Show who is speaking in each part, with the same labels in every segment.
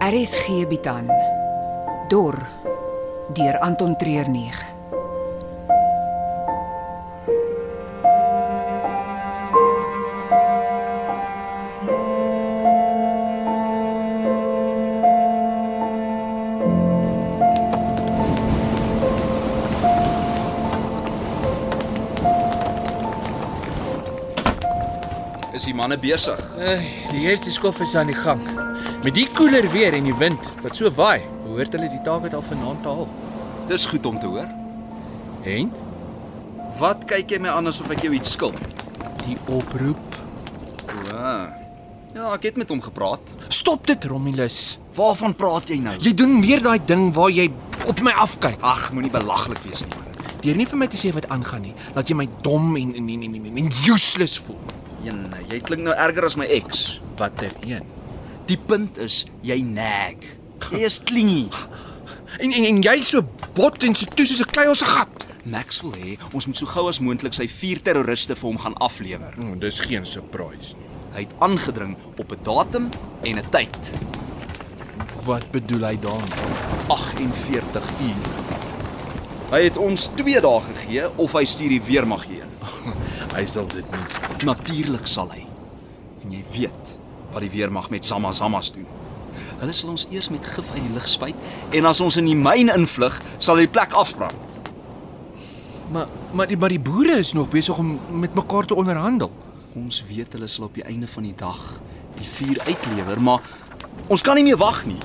Speaker 1: RSG bied aan Dor deur Anton Treurnig.
Speaker 2: Is die manne besig?
Speaker 3: Ai, Die eerste skof is aan die gang. Met die koeler weer en die wind wat so waai, hoort hulle die taak het al vanaand te haal.
Speaker 2: Dis goed om te hoor.
Speaker 3: En
Speaker 2: Wat kyk jy my aan asof ek jou iets skuld?
Speaker 3: die oproep.
Speaker 2: Ja. Ja, ek het met hom gepraat.
Speaker 3: Stop dit, Romulus.
Speaker 2: Waarvan praat jy nou?
Speaker 3: Jy doen weer daai ding waar jy op my afkyk.
Speaker 2: Ag, moenie belaglik wees nie man.
Speaker 3: Deur nie vir my te sê wat aangaan nie, laat jy my dom en en en, en, en, en useless voel.
Speaker 2: Een, jy klink nou erger as my ex.
Speaker 3: Watter een?
Speaker 2: Die punt is, jy nag. Jy is klingie.
Speaker 3: En en, en jy so bot en so toe soos 'n klei op 'n gat.
Speaker 2: Max wil hê ons moet so gou as moontlik sy vier terroriste vir hom gaan aflewer.
Speaker 3: Oh, dis geen surprise nie.
Speaker 2: Hy het aangedring op 'n datum en 'n tyd.
Speaker 3: Wat bedoel hy daarmee?
Speaker 2: 48 uur. Hy het ons 2 dae gegee of hy stuur die weermag hier.
Speaker 3: Hy sal dit nie. doen.
Speaker 2: Natuurlik sal hy. En jy weet wat die weermag met samasamas doen. Hulle sal ons eers met gif uit die lug spuit en as ons in die myn invlug, sal hy die plek afbrand.
Speaker 3: Maar maar die maar die boere is nog besig om met mekaar te onderhandel.
Speaker 2: Ons weet hulle sal op die einde van die dag die vuur uitlewer, maar ons kan nie meer wag nie.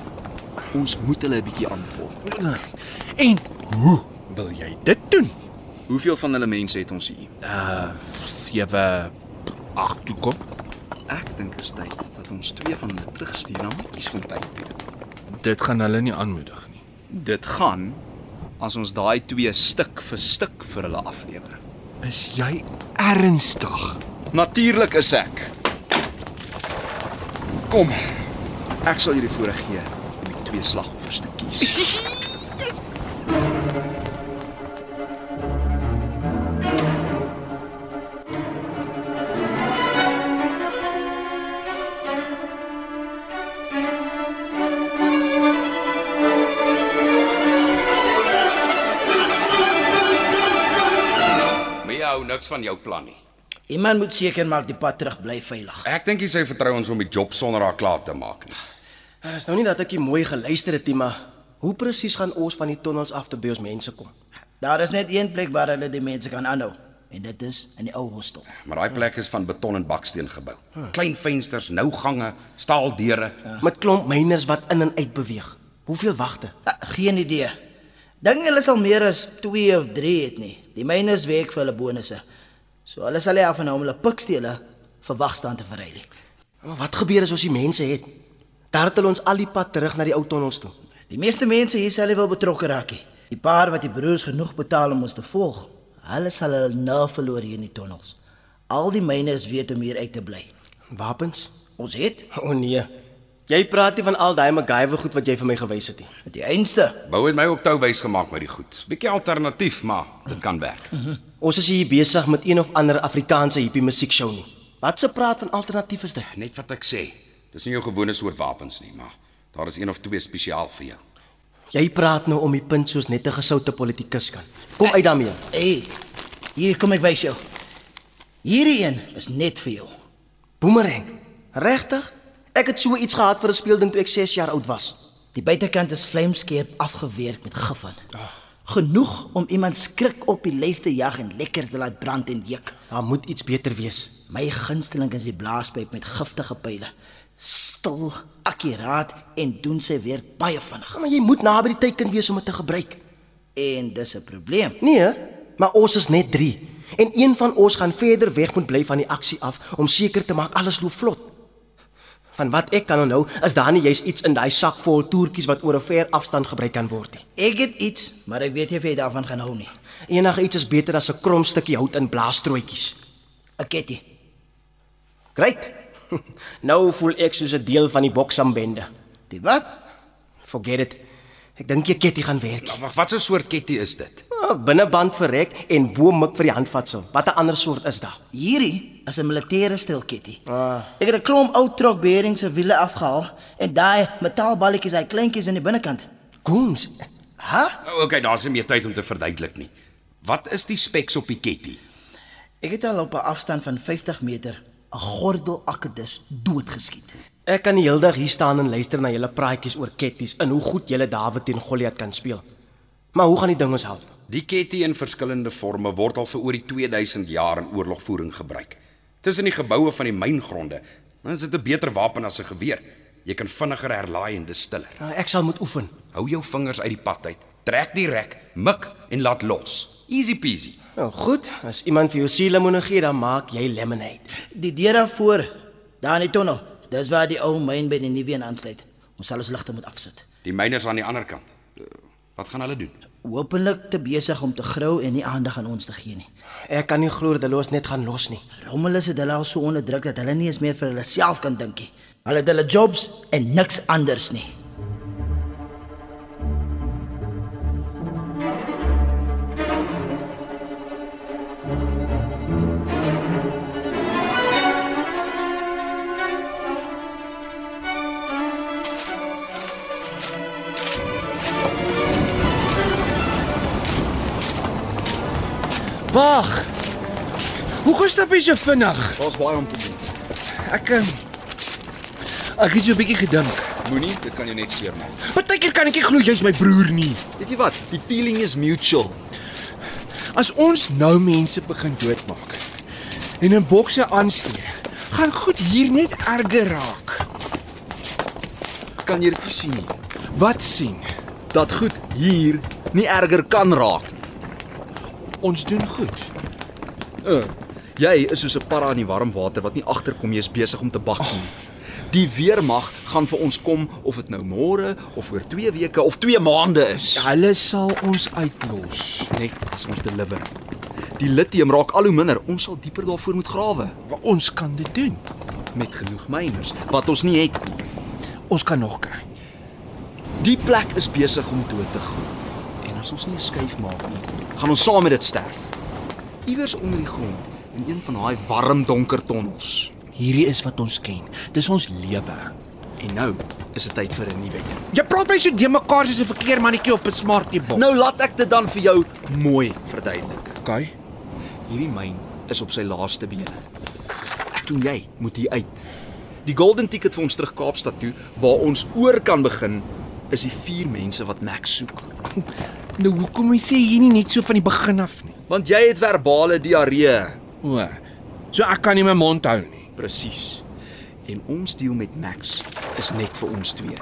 Speaker 2: Ons moet hulle 'n bietjie aanpot.
Speaker 3: En hoe wil jy dit doen?
Speaker 2: Hoeveel van hulle mense het ons hier?
Speaker 3: Uh 7 8 toe kom.
Speaker 2: Ek dink is tyd dat ons twee van hulle terugstuur na Kiesfontein toe.
Speaker 3: Dit gaan hulle nie aanmoedig nie.
Speaker 2: Dit gaan as ons daai twee stuk vir stuk vir hulle aflewer.
Speaker 3: Is jy ernstig?
Speaker 2: Natuurlik is ek. Kom. Ek sal hierdie voorreg gee om die twee slagoffers te kies.
Speaker 4: Mia hou niks van jou plan nie.
Speaker 5: Iemand moet seker maak die pad terug bly veilig.
Speaker 4: Ek dink nie sy vertrou ons om die job sonder haar klaar te maak nie.
Speaker 5: Daar is nou nie dat ek nie mooi geluister het nie, maar hoe presies gaan ons van die tonnels af te by ons mense kom? Daar is net een plek waar hulle die mense kan aanhou en dit is in die ou hostel.
Speaker 4: Maar daai plek is van beton en baksteen gebou. Klein vensters, nou gange, staaldeure.
Speaker 5: Ja. Met klomp myners wat in en uit beweeg. Hoeveel wagte? Ah, geen idee. Dink hulle sal meer as 2 of 3 het nie. Die myners werk vir hulle bonusse. So hulle sal nie af en aan om hulle pikstele verwag staan te verry nie.
Speaker 6: Maar wat gebeur as ons die mense het? Daar het hulle ons al die pad terug na die ou tonnels toe.
Speaker 5: Die meeste mense hier sal nie wel betrokke raak nie. Die paar wat die broers genoeg betaal om ons te volg, hulle sal hulle nou verloor hier in die tonnels. Al die myners weet om hier uit te bly.
Speaker 6: Wapens?
Speaker 5: Ons het
Speaker 6: O oh, nee. Jy praat nie van al daai MacGyver goed wat jy vir my gewys het nie.
Speaker 5: die einste.
Speaker 4: Bou het my ook tou wys gemaak met die goed. Bietjie alternatief, maar dit kan werk.
Speaker 6: Ons is hier besig met een of ander Afrikaanse hippie musiekshow nie. Wat se praat van alternatief is dit?
Speaker 4: Net wat ek sê. Dis nie jou gewone soort wapens nie, maar daar is een of twee spesiaal vir jou.
Speaker 6: Jy praat nou om die punt soos net 'n gesoute politikus kan. Kom uit daarmee.
Speaker 5: Hey, hier kom ek wys jou. Hierdie een is net vir jou.
Speaker 6: Boomerang. Regtig? Ek het so iets gehad vir 'n speelding toe ek 6 jaar oud was.
Speaker 5: Die buitekant is vlamskerp afgewerk met gif aan. Genoeg om iemand skrik op die lyf te jag en lekker te laat brand en juk.
Speaker 6: Daar moet iets beter wees.
Speaker 5: My gunsteling is die blaaspyp met giftige pyle. Stil, akkuraat en doen sy werk baie vinnig.
Speaker 6: Maar jy moet naby die teken wees om dit te gebruik.
Speaker 5: En dis 'n probleem.
Speaker 6: Nee, maar ons is net 3 en een van ons gaan verder weg moet bly van die aksie af om seker te maak alles loop vlot. Van wat ek kan onthou, is daar nie jy's iets in daai sak vol toertjies wat oor 'n ver afstand gebruik kan word nie.
Speaker 5: Ek het iets, maar ek weet nie of jy daarvan gaan hou nie.
Speaker 6: Enige iets is beter as 'n krom stukkie hout in blaastrooitjies.
Speaker 5: Ek het dit.
Speaker 6: Great. Nou voel ek soos 'n deel van die Boksambende.
Speaker 5: Die wat?
Speaker 6: Forget it. Ek dink jou ketty gaan werk.
Speaker 4: Wag, wat 'n soort ketty is dit?
Speaker 6: Ah, Binneband verrek en bo mik vir die handvatsel. Wat 'n ander soort is daar?
Speaker 5: Hierdie is 'n militêre stilketty. Ek het 'n klomp ou trokbering se wiele afgehaal en daai metaalballetjies, daai kleintjies aan die binnekant.
Speaker 6: Goons.
Speaker 5: Ha?
Speaker 4: Nou, okay, daar's nie meer tyd om te verduidelik nie. Wat is die speks op die ketty?
Speaker 5: Ek het al op 'n afstand van 50 meter 'n gordelakkedus doodgeskiet.
Speaker 6: Ek kan die hele dag hier staan en luister na julle praatjies oor ketties en hoe goed julle Dawid teen Goliat kan speel. Maar hoe gaan die ding ons help?
Speaker 4: Die ketty in verskillende forme word al vir oor die 2000 jaar in oorlogvoering gebruik. Tussen die geboue van die myngronde dan is dit 'n beter wapen as 'n geweer. Jy kan vinniger herlaai en dis stiller.
Speaker 6: Ah, Ek sal moet oefen.
Speaker 4: Hou jou vingers uit die pad uit. Trek die rek, mik en laat los. Easy peasy.
Speaker 6: Nou goed, as iemand vir jou sielemoene gee, dan maak jy lemonade.
Speaker 5: Die deur daarvoor, daar in die tonnel, dis waar die ou myn by die nuwe een aansluit. Ons sal ons ligte moet afsit.
Speaker 4: Die myners aan die ander kant. Eh, Wat gaan hulle doen?
Speaker 5: Hoopelik te besig om te grou en nie aandag aan ons te gee nie.
Speaker 6: Ek kan nie glo dat hulle ons net gaan los nie.
Speaker 5: Rommel is dit hulle al so onder druk dat hulle nie eens meer vir hulle self kan dink nie. Hulle het hulle jobs en niks anders nie.
Speaker 3: Wag. Hoekom stap jy so vinnig?
Speaker 2: Daar's baie om te doen.
Speaker 3: Ek ehm, ek het jou 'n bietjie gedink.
Speaker 2: Moenie, dit kan jou net seermaak.
Speaker 3: Partykeer kan ek nie glo jy's my broer nie.
Speaker 2: Weet jy wat? Die feeling is mutual.
Speaker 3: As ons nou mense begin doodmaak en in bokse aansteek, gaan goed hier net erger raak.
Speaker 2: Kan jy dit nie sien nie?
Speaker 3: Wat sien?
Speaker 2: Dat goed hier nie erger kan raak nie.
Speaker 3: Ons doen goed.
Speaker 2: Uh, jy is soos 'n para in die warm water wat nie agterkom jy's besig om te bak nie. Die weermag gaan vir ons kom of dit nou môre of oor 2 weke of 2 maande is.
Speaker 3: Hulle sal ons uitlos.
Speaker 2: Ja, net as ons deliver. Die lithium raak al hoe minder. Ons sal dieper daarvoor moet grawe
Speaker 3: Maar Ons kan dit doen.
Speaker 2: met genoeg myners wat ons nie het nie.
Speaker 3: Ons kan nog kry.
Speaker 2: Die plek is besig om dood te gaan. En as ons nie 'n skuif maak nie, gaan ons saam met dit sterf. Iewers onder die grond in een van daai warm donker tonnels.
Speaker 3: Hierdie is wat ons ken. Dis ons lewe.
Speaker 2: En nou is dit tyd vir 'n nuwe een.
Speaker 3: Jy praat my so de mekaar soos 'n verkeer mannetjie op 'n smartiebok.
Speaker 2: Nou laat ek dit dan vir jou mooi verduidelik.
Speaker 3: okay.
Speaker 2: Hierdie myn is op sy laaste bene. Ek en jy moet hier uit. Die golden ticket vir ons terug Kaapstad toe waar ons oor kan begin is die vier mense wat Max soek.
Speaker 3: Nou hoekom jy sê jy nie net so van die begin af nie?
Speaker 2: Want jy het verbale diarree.
Speaker 3: O. So ek kan nie my mond hou nie.
Speaker 2: Presies. En ons deal met Max is net vir ons twee.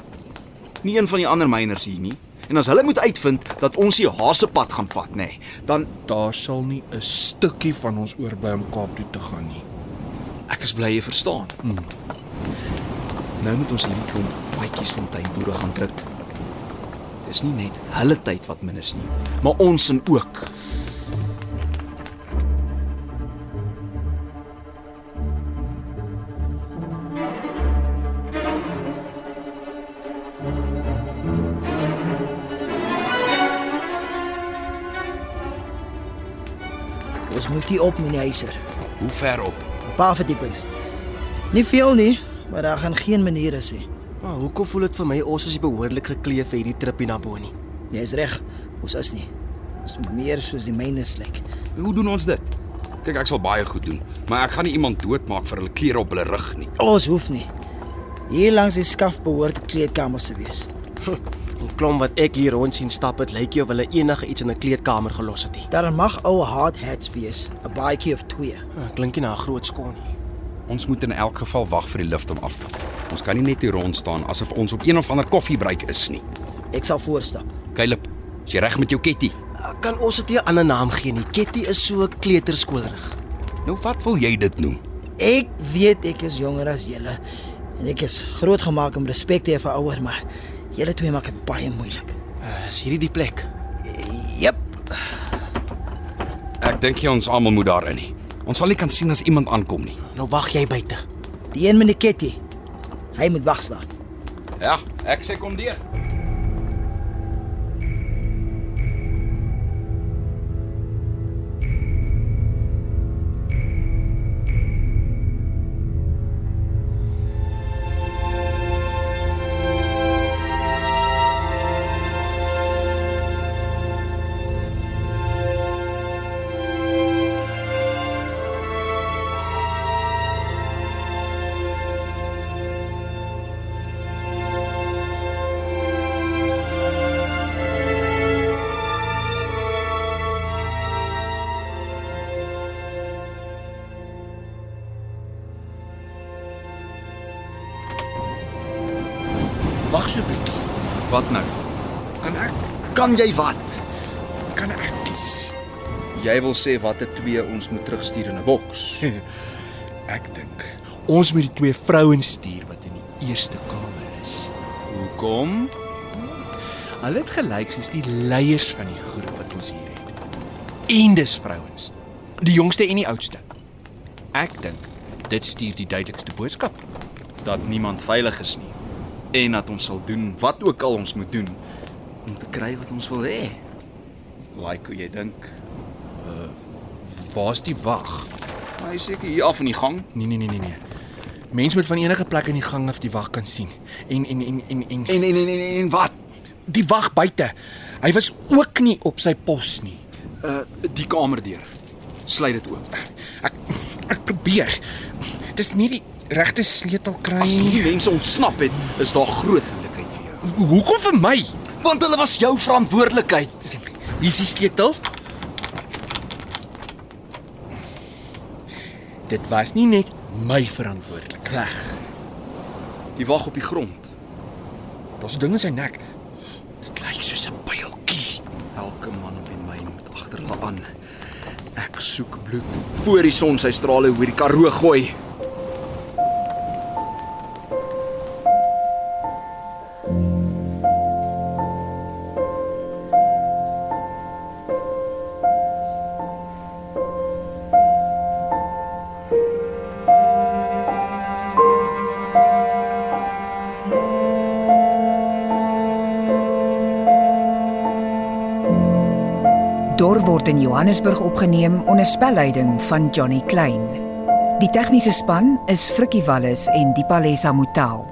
Speaker 2: Nie een van die ander myners hier nie. En as hulle moet uitvind dat ons die hasepad gaan vat, nê, nee, dan
Speaker 3: Daar sal nie 'n stukkie van ons oorbly om Kaap toe te gaan nie.
Speaker 2: ek is bly jy verstaan. Mm. Nou moet ons hierdie klomp paadjies van tuinboere gaan druk. Dis nie net hulle tyd wat min is nie, maar ons en ook.
Speaker 5: Ons moet hier op, meneer Heiser.
Speaker 4: Hoe ver op?
Speaker 5: 'n Paar verdiepings. Nie veel nie, maar daar gaan geen manier is nie.
Speaker 6: Maar hoekom voel dit vir my ons is nie behoorlik gekleef vir hierdie tripie na Bonnie?
Speaker 5: Jy's reg. Ons is nie. Ons moet meer soos die myne slyk.
Speaker 4: Hoe doen ons dit? Kyk, ek sal baie goed doen, maar ek gaan nie iemand doodmaak vir hulle klere op hulle rug nie.
Speaker 5: Ons hoef nie. Hier langs die skaf behoort kleedkamers te wees.
Speaker 6: Die klomp wat ek hier rond sien stap, dit lyk jy of hulle enige iets in 'n kleedkamer gelos het. nie.
Speaker 5: Daar mag ou hard hats wees, 'n baadjie of twee.
Speaker 6: Ah, Klink nie na 'n groot skoon nie.
Speaker 4: Ons moet in elk geval wag vir die lift om af te kom. Ons kan nie net hier rond staan asof ons op een of ander koffiebreek is nie.
Speaker 5: Ek sal voorstap.
Speaker 4: Kylip, is jy reg met jou ketty?
Speaker 6: Ah, Kan ons dit nie 'n ander naam gee nie? Ketty is so kleuterskoolerig.
Speaker 4: Nou wat wil jy dit noem?
Speaker 5: Ek weet ek is jonger as julle en ek is grootgemaak om respek te hê vir ouer, maar julle twee maak dit baie moeilik.
Speaker 6: Ah, Is hierdie die plek?
Speaker 5: Jep,
Speaker 4: Ek dink jy ons almal moet daarin nie. Ons sal nie kan sien as iemand aankom nie.
Speaker 6: Nou wag jy buite.
Speaker 5: die een met die ketty. Hy moet wag staan.
Speaker 4: Ja, ek sê kom deur.
Speaker 3: so 'n bietjie.
Speaker 2: Wat nou?
Speaker 3: Kan ek
Speaker 2: Kan jy wat?
Speaker 3: kan ek kies?
Speaker 2: Jy wil sê watter twee ons moet terugstuur in 'n boks.
Speaker 3: Ek dink ons moet die twee vrouens stuur wat in die eerste kamer is.
Speaker 2: Hoekom?
Speaker 3: Hulle het gelyk soos die leiers van die groep wat ons hier het. En dis vrouens. Die jongste en die oudste. Ek dink dit stuur die duidelikste boodskap.
Speaker 2: Dat niemand veilig is nie en dat ons sal doen wat ook al ons moet doen om te kry wat ons wil hê. Like hoe jy dink.
Speaker 3: Waar's die wag?
Speaker 2: Maar jy is seker hier af in die gang.
Speaker 3: Nee nee nee nee nee. Mense moet van enige plek in die gang af die wag kan sien. En en en en en, en
Speaker 2: En en en en, en wat?
Speaker 3: die wag buite. Hy was ook nie op sy pos nie.
Speaker 2: Uh die kamerdeur. Sluit dit oop.
Speaker 3: Ek ek probeer. Dis nie die regte sleutel kry
Speaker 2: As
Speaker 3: nie.
Speaker 2: hierdie mense ontsnap het, is daar groot moeilikheid vir jou.
Speaker 3: Hoekom vir my?
Speaker 2: Want hulle was jou verantwoordelikheid.
Speaker 3: Hier is die sleutel. Dit was nie net my verantwoordelikheid.
Speaker 2: Weg. Jy wag op die grond.
Speaker 3: Daar's 'n ding in sy nek. Dit lyk soos 'n pyltjie.
Speaker 2: Elke man op die myn moet agter hulle aan. Ek soek bloed. Voor die son sy strale oor die Karoo gooi.
Speaker 1: Dor word in Johannesburg opgeneem onder spelleiding van Johnny Klein. Die tegniese span is Frikkie Wallis en Dipalesa Motelo.